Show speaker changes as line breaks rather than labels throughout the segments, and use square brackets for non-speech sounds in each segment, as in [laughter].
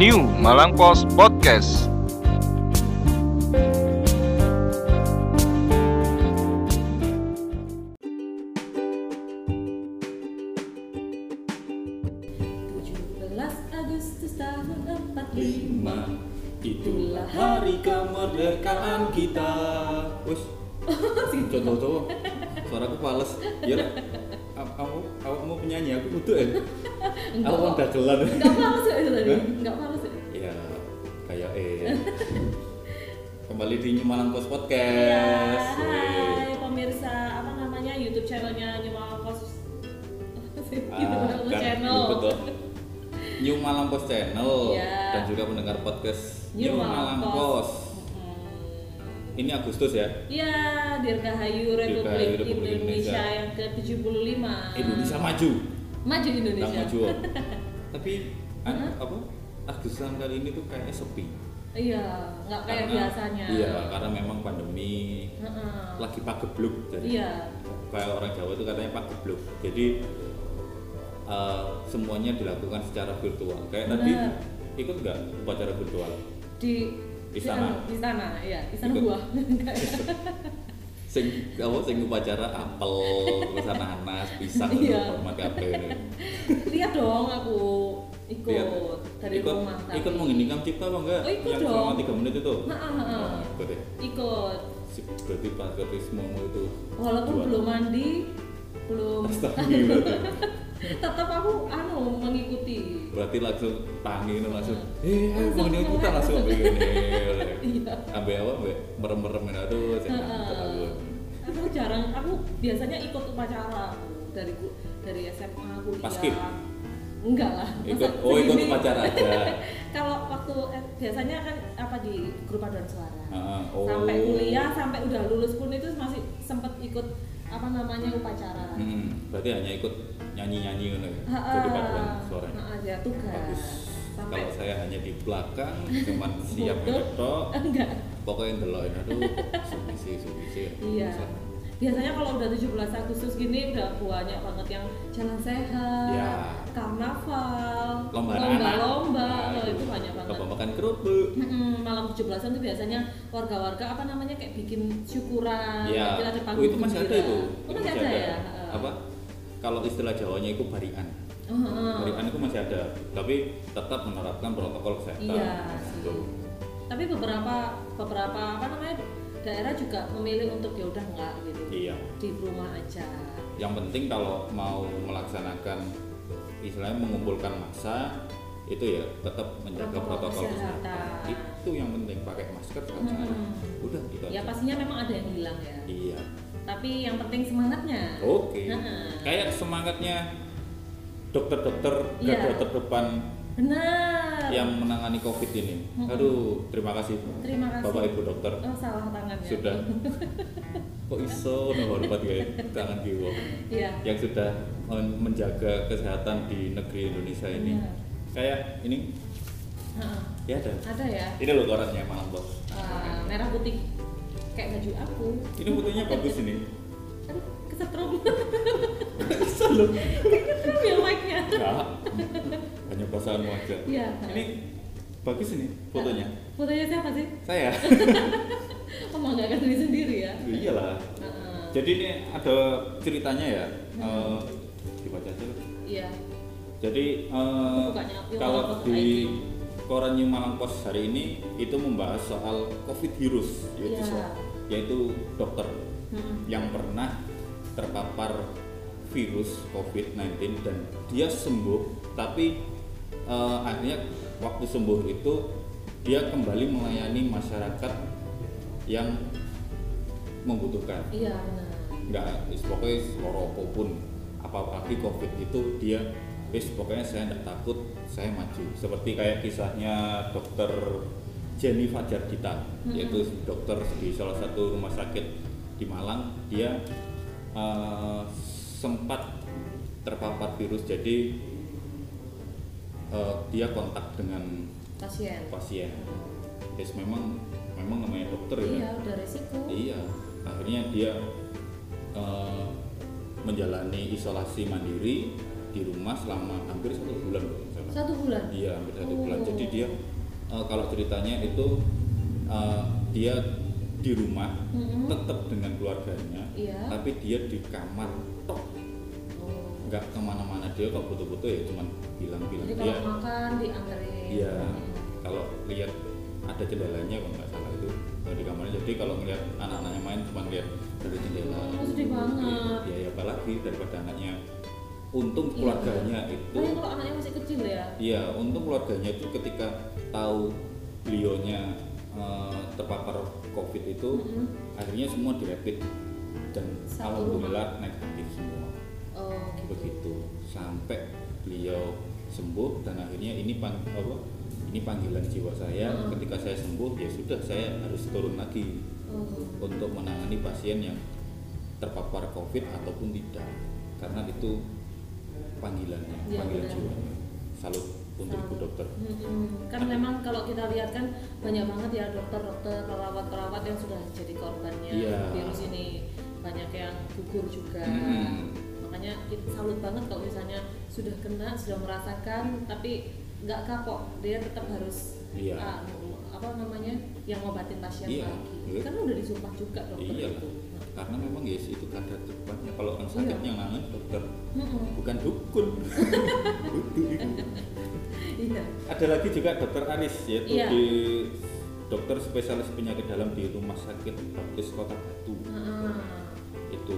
New Malang Post Podcast.
Agustus tahun 45
lima itulah hari kemerdekaan kita
[laughs]
wes contoh cowok suaraku pales ya awak awak awak mau penyanyi aku kudu ya
Enggak
awak
kok.
dagelan
Enggak males ya itu tadi
Hah?
Enggak males ya
[laughs] ya kayak eh kembali di New Malang Post
Ya,
Podcast
Hai pemirsa apa namanya YouTube channelnya Nyewa Pos Apa sih?
Weh.
Gitu
Ah,
nama
kan,
channel
ikut dong. New Malang Post Channel
Iya.
dan juga pendengar podcast
New
New,
Malang
Malang
Post. Mm-hmm.
Post ini Agustus ya
Ya, Dirgahayu Republik
Dirgahayu Republik
Indonesia
Indonesia.
yang ke-75
Indonesia maju
Maju
Nggak
Indonesia
maju.
[laughs]
Tapi an- apa? Agusan kali ini tuh kayaknya sepi.
Iya, nggak kayak
Karena-
biasanya
Iya, karena memang pandemi
Heeh.
lagi pagebluk jadi
Iya,
kayak orang Jawa itu katanya pagebluk. Jadi eh, semuanya dilakukan secara virtual. Kayak tadi
Benar.
ikut nggak upacara virtual?
di
Istana.
di istana, iya, istana
Ikut.
buah
Sing apa sing upacara apel, terus nanas, pisang,
Iya.
terus hormat kabeh.
[laughs] lihat dong aku ikut
Lihat.
dari
ikut,
rumah tapi.
ikut mengheningkan cipta apa enggak?
Oh, ikut
Yang
dong.
selama 3 menit itu.
Heeh, heeh.
Nah, ikut ya.
ikut
Si- berarti patriotismemu itu
walaupun
juara.
belum mandi belum
Astaga, berarti.
[laughs] tetap aku anu mengikuti
berarti langsung tangi ini langsung eh ayo
Langsung
bang ini kita
nyelek.
langsung
[laughs]
begini
Iya.
ambil apa ambil merem merem itu
Heeh. aku jarang aku biasanya ikut upacara aku. dari ku- dari SMA aku
Paskib?
enggak lah masa
ikut oh ikut
segini? [laughs]
upacara aja
kalau waktu eh, biasanya kan apa di grup paduan suara
Heeh, oh.
sampai kuliah sampai udah lulus pun itu masih sempet ikut apa namanya upacara
hmm, berarti hanya ikut nyanyi nyanyi gitu ya
Ha-ha.
jadi paduan suaranya
Ha-ha, ya, tugas
bagus
sampai
kalau saya hanya di belakang
[laughs]
cuman siap
Bodoh.
ngetok
[laughs] enggak
pokoknya ngelokin aduh suwi sih suwi sih
iya biasanya kalau udah 17 Agustus gini udah banyak banget yang jalan sehat
Ya.
karnaval
lomba
lomba,
anak
oh, itu banyak banget
lomba makan kerupuk
Mm-mm, malam 17-an tuh biasanya warga-warga apa namanya kayak bikin syukuran
ya
nanti ada
oh,
panggung
itu masih ada
gembira.
itu
oh, masih ada, ya Heeh.
apa kalau istilah Jawanya itu barian
Oh, heeh.
barian itu masih ada tapi tetap menerapkan protokol kesehatan
Iya sih.
Gitu.
tapi beberapa beberapa apa namanya daerah juga memilih untuk ya udah enggak gitu
iya
di rumah aja
yang penting kalau mau melaksanakan istilahnya mengumpulkan massa itu ya tetap menjaga
Protokol
protokol
kesehatan.
kesehatan. itu yang penting pakai masker pakai
Mm-mm.
sarung. udah gitu
ya
aja
pastinya memang ada yang hilang ya
iya
tapi yang penting semangatnya
Oke.
Heeh.
Kayak semangatnya dokter-dokter
Iya.
garda terdepan
benar
yang menangani COVID ini.
Mm-mm.
Aduh, terima kasih.
Terima kasih.
Bapak Ibu dokter
oh salah tangannya
sudah
[laughs]
kok iso menghormat kayak tangan kiwa
iya
yang sudah men- menjaga kesehatan di negeri Indonesia ini.
Benar.
Kayak ini
Heeh.
ya ada.
ada ya
Ini loh korannya malam bos.
Eh, merah putih kayak baju aku
Ini fotonya bagus ini.
aduh kesetrum [laughs]
Selalu.
kesetrum ya mic-nya
Hanya pasangan wajah.
Iya.
Ini bagus ini fotonya.
fotonya siapa sih
Saya.
emang nggak akan sendiri sendiri ya Eh,
Iya
[laughs]
iyalah.
Heeh.
Jadi ini ada ceritanya ya. Eh, dibaca aja. lah.
iya
Jadi eh,
Bukanya New Malang
kalau
Post
di koran New Malang Post hari ini itu membahas soal COVID virus yaitu
Iya.
so- yaitu dokter
Heeh.
yang pernah terpapar virus COVID-19 dan dia sembuh tapi eh, akhirnya waktu sembuh itu dia kembali melayani masyarakat yang membutuhkan
iya benar
nggak wis pokoknya loro apapun apalagi covid itu dia wis pokoknya saya nggak takut saya maju seperti kayak kisahnya dokter Jenny Fajar kita
Mhm.
yaitu dokter di salah satu rumah sakit di Malang dia eh, sempat terpapar virus jadi eh, dia kontak dengan
pasien
pasien Yes, memang memang namanya dokter ya
iya udah resiko
Iya, akhirnya dia eh, menjalani isolasi mandiri di rumah selama hampir satu bulan kalau nggak salah.
satu bulan
Iya, hampir satu
Oh.
bulan. Jadi dia eh, kalau ceritanya itu eh, dia di rumah
Mm-mm.
tetap dengan keluarganya,
Hmm. Iya.
tapi dia di kamar tok
Oh.
nggak kemana-mana dia kalau butuh-butuh ya cuman bilang-bilang Iya.
jadi
dia
kalau makan Hmm. diantarin
Iya, kalau lihat ada jendelanya kalau nggak salah itu kalau di kamarnya. Jadi kalau ngelihat anak-anaknya main cuma lihat dari jendela.
Oh, sedih banget.
Iya, ya apalagi daripada anaknya. Untung
Iya,
keluarganya itu,
Tapi kalau anaknya masih kecil ya
iya, untung keluarganya itu ketika tahu beliaunya eh, terpapar COVID itu,
Mm-mm.
akhirnya semua dirapid dan
Satu
alhamdulillah negatif semua
oh gitu
begitu sampai beliau sembuh dan akhirnya ini pan apa ini panggilan jiwa saya
Hmm.
ketika saya sembuh ya sudah saya harus turun lagi
Oh.
untuk menangani pasien yang terpapar covid ataupun tidak karena itu panggilannya
Iya,
panggilan
benar.
jiwanya salut untuk ibu dokter
Mm-mm. Kan memang kalau kita lihat kan banyak banget ya dokter-dokter, perawat-perawat yang sudah jadi korbannya
Iya.
virus ini banyak yang gugur juga.
Mm-mm.
Makanya kita salut banget kalau misalnya sudah kena, sudah merasakan, tapi nggak kapok, dia tetap harus
Iya.
ah, apa namanya yang ngobatin pasien
Iya.
lagi.
Iya.
Karena udah disumpah juga dokter
iya
itu.
karena memang ya itu kadar depannya kalau orang sakit
Iya.
yang nangani dokter
Mm-mm.
bukan dukun Duduk itu.
Iya.
ada lagi juga dokter Aris yaitu
Iya.
di dokter spesialis penyakit dalam di rumah sakit Baptis Kota Batu
Ah.
itu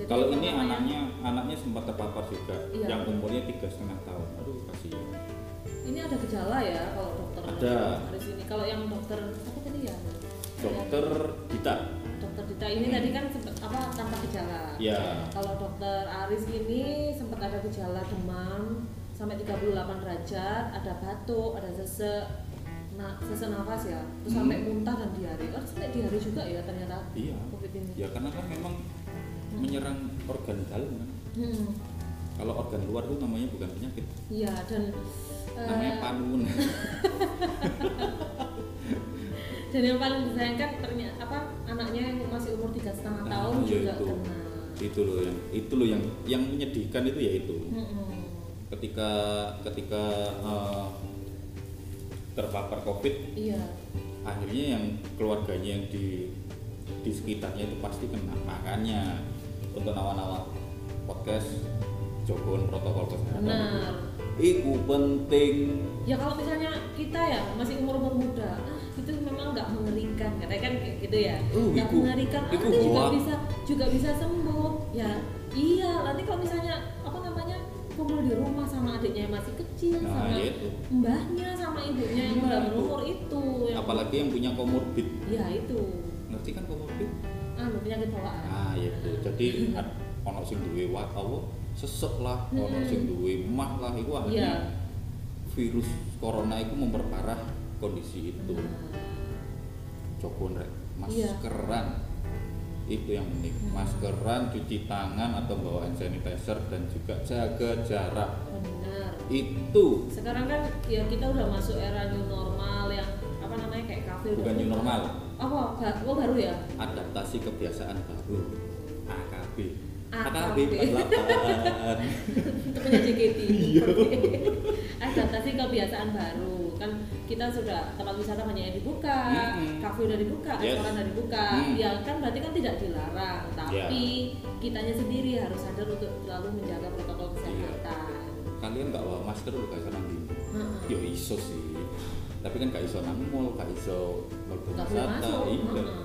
Jadi
kalau
apa
ini
namanya?
anaknya anaknya sempat terpapar juga
Iya.
yang umurnya tiga setengah tahun aduh kasihan
Ini ada gejala ya kalau dokter
Ada.
Aris ini. Kalau yang dokter apa tadi ya?
dokter Dita
Dokter Dita ini
Hmm.
tadi kan sempat apa tanpa gejala.
ya
Kalau dokter Aris ini sempat ada gejala demam sampai 38 derajat, ada batuk, ada sesek, nah sesek nafas ya, terus
Hmm.
sampai muntah dan diare. Kan sampai diare juga ya ternyata
iya
COVID ini.
ya karena kan memang menyerang organ dalam kan
Hmm.
kalau organ luar itu namanya bukan penyakit
Iya dan eh,
namanya panun [laughs]
dan yang paling disayangkan ternyata apa anaknya yang masih umur tiga setengah
Nah,
tahun
iya
juga
itu.
kena.
itu loh yang itu loh yang yang menyedihkan itu ya itu
Mm-mm.
ketika ketika eh, terpapar covid
Iya,
akhirnya yang keluarganya yang di di sekitarnya itu pasti kena makanya untuk nawa-nawa podcast jogoan protokol kesehatan
benar.
itu penting
Ya kalau misalnya kita ya masih umur umur muda, ah itu memang nggak mengerikan, katanya kan kayak gitu ya,
Oh,
nggak
iku-
mengerikan. Ah,
iku
nanti juga
hoak.
bisa juga bisa sembuh. Ya, iya. Nanti kalau misalnya apa namanya kumpul di rumah sama adiknya yang masih kecil,
Nah,
sama
ya itu.
mbahnya, sama ibunya yang
Iya,
udah
itu.
berumur itu. Yang,
apalagi yang punya komorbid
Ya itu,
ngerti kan komorbid
anu penyakit bawaan.
nah ya itu jadi ad- ono sing duwe wat apa sesek lah ono
Hmm.
sing duwe mah lah itu
Iya.
akhirnya virus corona itu memperparah kondisi itu
Benar.
Joko rek
Iya.
maskeran itu yang penting
Hmm.
maskeran cuci tangan atau bawa hand sanitizer dan juga jaga jarak
Benar.
itu
sekarang kan ya kita udah masuk era new normal yang apa namanya kayak kafe udah
bukan new
buka.
normal
apa ba- oh, baru
[laughs]
ya
adaptasi kebiasaan baru AKB
AKB.
48
temennya JKT
Iya.
[laughs] adaptasi kebiasaan baru kan kita sudah tempat wisata banyak yang dibuka
Mm-mm.
kafe udah dibuka
Yes.
restoran udah dibuka
Mm.
ya
Ya.
kan berarti kan tidak dilarang tapi kitanya sendiri harus sadar untuk selalu menjaga protokol kesehatan
[laughs] kalian nggak bawa masker lu gak sana
Heeh.
yo Ya iso sih tapi kan gak iso nang mall gak iso mlebu
nggak boleh
wisata
masuk
iya
Heeh.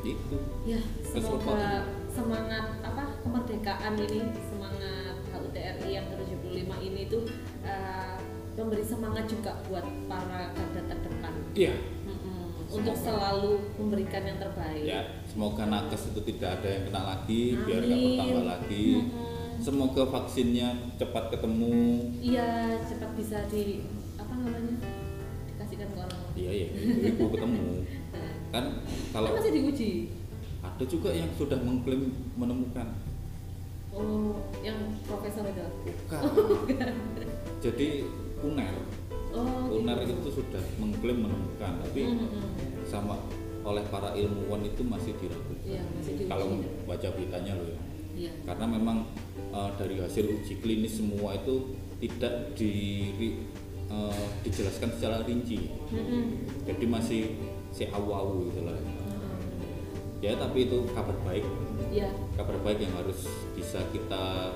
itu
Ya,
Terus
semoga
apa?
semangat apa kemerdekaan ini, semangat HUTRI yang ke-75 ini tuh eh, memberi semangat juga buat para garda terdepan.
iya
Mm-mm. Untuk
Semoga.
selalu memberikan yang terbaik.
ya semoga nakes itu tidak ada yang kena lagi biar nggak
Amin.
bertambah lagi
Mm-mm.
semoga vaksinnya cepat ketemu
Iya, cepat bisa di apa namanya? dikasihkan ke orang.
iya ya itu ketemu
Nah,
kan
kan
kalau
masih diuji.
ada juga yang sudah mengklaim menemukan
Oh, yang profesor itu.
bukan jadi uner
Oh,
uner
gitu.
itu sudah mengklaim menemukan tapi
Hmm. Mm-mm.
sama oleh para ilmuwan itu masih diragukan
Iya, masih diuji.
kalau baca beritanya loh ya
Iya.
karena memang eh, dari hasil uji klinis semua itu tidak di- ri- eh, dijelaskan secara rinci
Mm-mm.
jadi masih si awu-awu gitu lah ya tapi itu kabar baik
Iya.
kabar baik yang harus bisa kita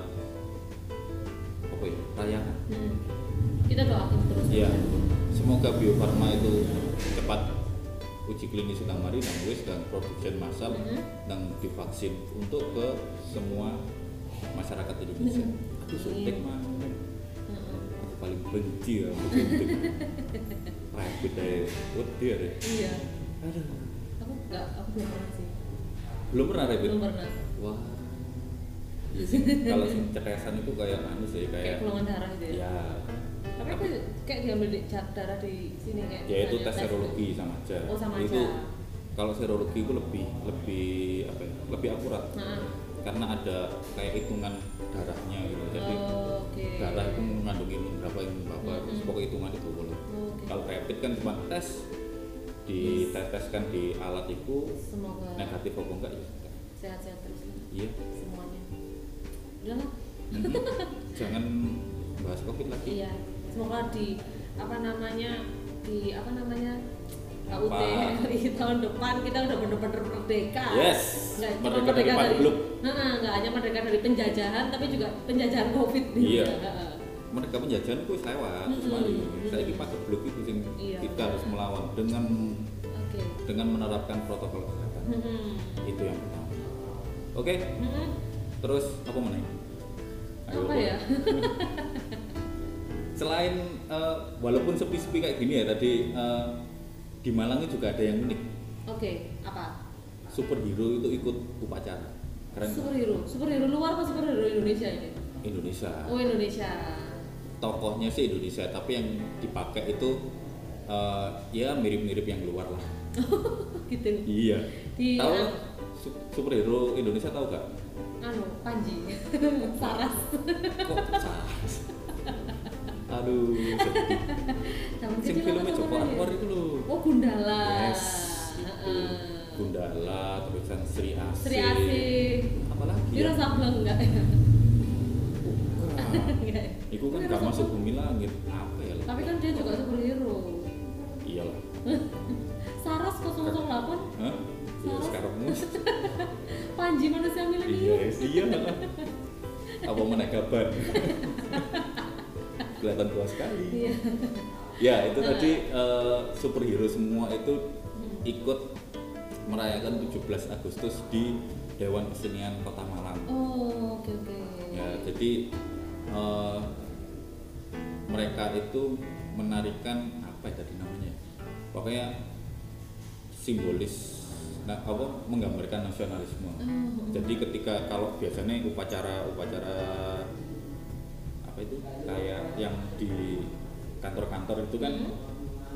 apa ya rayakan
Mm. Kita doakan terus.
ya semoga Bio Farma itu cepat uji klinis sudah mari dan wis dan produksi massal
Mhm.
dan divaksin untuk ke semua masyarakat Indonesia.
Mhm.
Aku suntik mah,
Mm-mm.
aku paling benci ya aku suntik. Rapid aja, wedi ya.
Iya.
Aduh,
Aku nggak, aku belum pernah sih.
belum pernah rapid.
Belum pernah.
Wah. Iya sih, Kalau sing cetesan itu kayak anu sih
Kayak
kayak
golongan darah gitu ya.
ya
Tapi aku kayak diambil di cat darah di sini kayak.
ya itu
misalnya
tes serologi sama aja.
Oh, sama
itu
aja.
kalau serologi itu lebih lebih apa ya? Lebih akurat.
Nah,
Karena ada kayak hitungan darahnya gitu. Jadi
oh, oke.
darah itu mengandung imun berapa imun berapa
Mhm.
terus pokoknya hitungan itu boleh.
Oke.
Kalau rapid kan cuma tes diteteskan di alat itu
Semoga
negatif apa enggak ya?
sehat-sehat terus ya,
Iya.
semuanya. Udah lah.
Mhm. Jangan bahas covid lagi.
Iya, semoga di apa namanya di apa namanya KUT
Apa?
RI tahun depan kita udah bener-bener merdeka.
Yes,
Nggak cuma
merdeka dari Pangluk.
Nah, nggak hanya merdeka dari penjajahan, tapi juga penjajahan COVID. nih.
Iya.
Heeh.
mereka penjajahan itu lewat
Mm-mm.
mari saya ini pakai blok itu yang
Iya.
kita harus melawan dengan
Oke.
dengan menerapkan protokol kesehatan
Hmm.
itu yang pertama oke
Hmm.
terus apa mana ini? Ayo,
Apa
apa?
ya?
[laughs] selain eh, walaupun sepi-sepi kayak gini ya tadi eh, di Malang itu juga ada yang unik
Oke, apa?
superhero itu ikut upacara keren
Superhero, superhero luar apa superhero Indonesia ini?
Indonesia
Oh Indonesia.
tokohnya sih Indonesia tapi yang dipakai itu eh, ya mirip-mirip yang luar
[laughs]
lah
gitu.
Iya.
Di-
tahu su- superhero Indonesia tahu gak?
Anu, Panji, [laughs] Saras. [laughs]
Kok Sars? Aduh, sedih.
Tahun
Sing
kecil apa
filmnya
tuh
Joko
namanya?
Anwar itu loh.
Oh Gundala.
Yes. itu.
Heeh.
Gundala, terus kan Sri Asih.
Sri Asih. Iya.
Apalagi
Wiro
ya?
Sableng enggak? [laughs]
Bukan.
Enggak.
Iku kan
Tapi
gak
Wiro
masuk
Sableng-
bumi langit. Apa ya?
Tapi kan dia juga superhero.
Iyalah.
Saras 008
Hah? Ya
Saras.
sekarang
[laughs] Panji manusia
Iya,
milenial.
iya. Apa menaik
[laughs]
kabar? Kelihatan tua sekali.
Iya.
Ya itu
Nah.
tadi eh, superhero semua itu ikut merayakan 17 Agustus di Dewan Kesenian Kota Malang.
Oh, oke oke.
Ya jadi eh, mereka itu menarikan apa ya tadi namanya? Pokoknya simbolis nah, apa menggambarkan nasionalisme.
Oh.
Jadi ketika kalau biasanya upacara-upacara apa itu kayak yang di kantor-kantor itu kan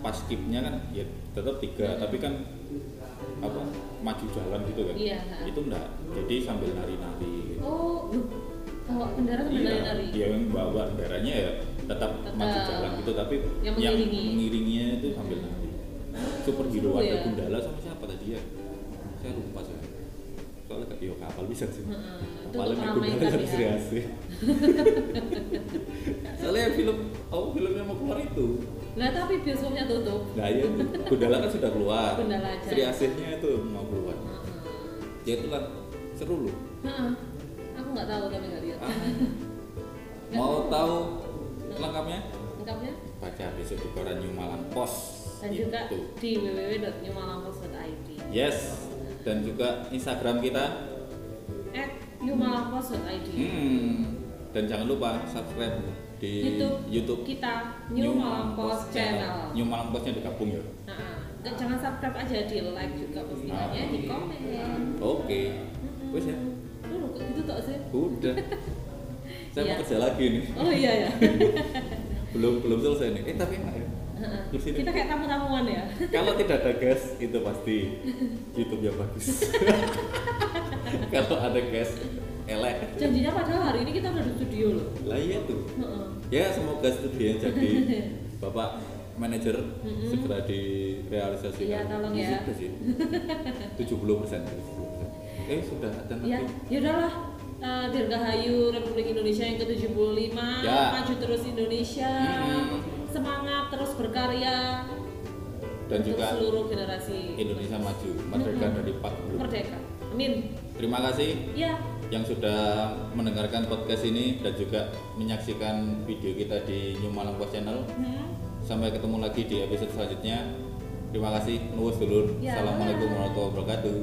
pas skipnya kan ya tetap tiga tapi kan apa maju jalan gitu kan
Iya.
itu enggak jadi sambil nari-nari gitu.
Oh, loh. Bawa bendera sambil nari-nari.
iya yang bawa benderanya ya tetap
Tetap.
maju jalan gitu tapi
Yang mengiringi.
mengiringinya itu sambil nari superhero
Seru
ada
ya.
Gundala sama siapa tadi ya saya lupa sih soalnya kayak yo kapal bisa sih
Heeh, itu
Kapalnya
untuk
naik
ramai
Gundala
kan
[laughs]
ya.
dari Sri
[laughs]
Asih. soalnya yang film oh filmnya mau keluar itu
Nah, tapi bioskopnya tutup.
nah
[laughs]
ya Gundala kan sudah keluar
Gundala aja.
Sri Asihnya itu mau keluar
Heeh.
ya itulah seru loh
Heeh. Aku nggak tahu tapi nggak lihat. [laughs]
Ah. mau tahu lengkapnya
Lengkapnya
baca besok di koran New Malang Pos
dan juga
itu.
di www.newmalangpost.id
yes dan juga Instagram kita
at newmalangpost.id
hmm. dan jangan lupa subscribe di
YouTube,
YouTube,
kita New, Malang Post Channel.
New Malang Postnya digabung ya
Nah, dan jangan subscribe aja di like juga postingannya,
Ah.
di komen.
oke wes ya
Lu kok gitu tok sih? [laughs]
udah saya
Iya.
mau kerja lagi nih
Oh iya ya.
belum belum selesai nih eh tapi enak ya
Heeh.
Terus ini.
kita kayak tamu-tamuan ya.
kalau tidak ada gas itu pasti YouTube yang
[laughs]
bagus kalau ada gas elek
Janjinya padahal hari ini kita udah di studio loh.
lah iya tuh
Heeh.
ya semoga studi yang
[laughs]
jadi bapak manajer
Mm-mm.
segera direalisasikan
Iya, tolong ya. [laughs]
Sudah sih 70 persen eh sudah ada
Iya.
nanti
Ya, ya udahlah. eh, Dirgahayu Republik Indonesia yang ke-75
Ya.
maju terus Indonesia
Mm-mm.
semangat terus berkarya
dan
untuk
juga
seluruh generasi
Indonesia maju merdeka
Mm-mm.
dari Pak Guru.
merdeka amin
Terima kasih
ya
yang sudah mendengarkan podcast ini dan juga menyaksikan video kita di New Malang Post Channel.
Hmm.
Sampai ketemu lagi di episode selanjutnya. Terima kasih. Nuwun dulur.
Ya.
Assalamualaikum warahmatullahi wabarakatuh.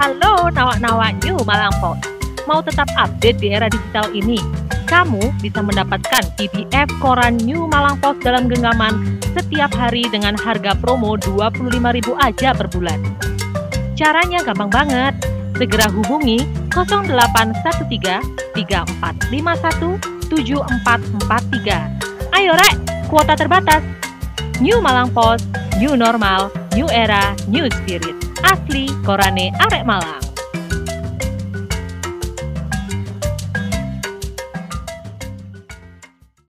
Halo nawak-nawak New Malang Post. Mau tetap update di era digital ini? Kamu bisa mendapatkan PDF koran New Malang Post dalam genggaman setiap hari dengan harga promo 25.000 aja per bulan. Caranya gampang banget. Segera hubungi 0813 3451 7443. Ayo rek, kuota terbatas. New Malang Post, new normal, new era, new spirit. Asli Korane Arek Malang.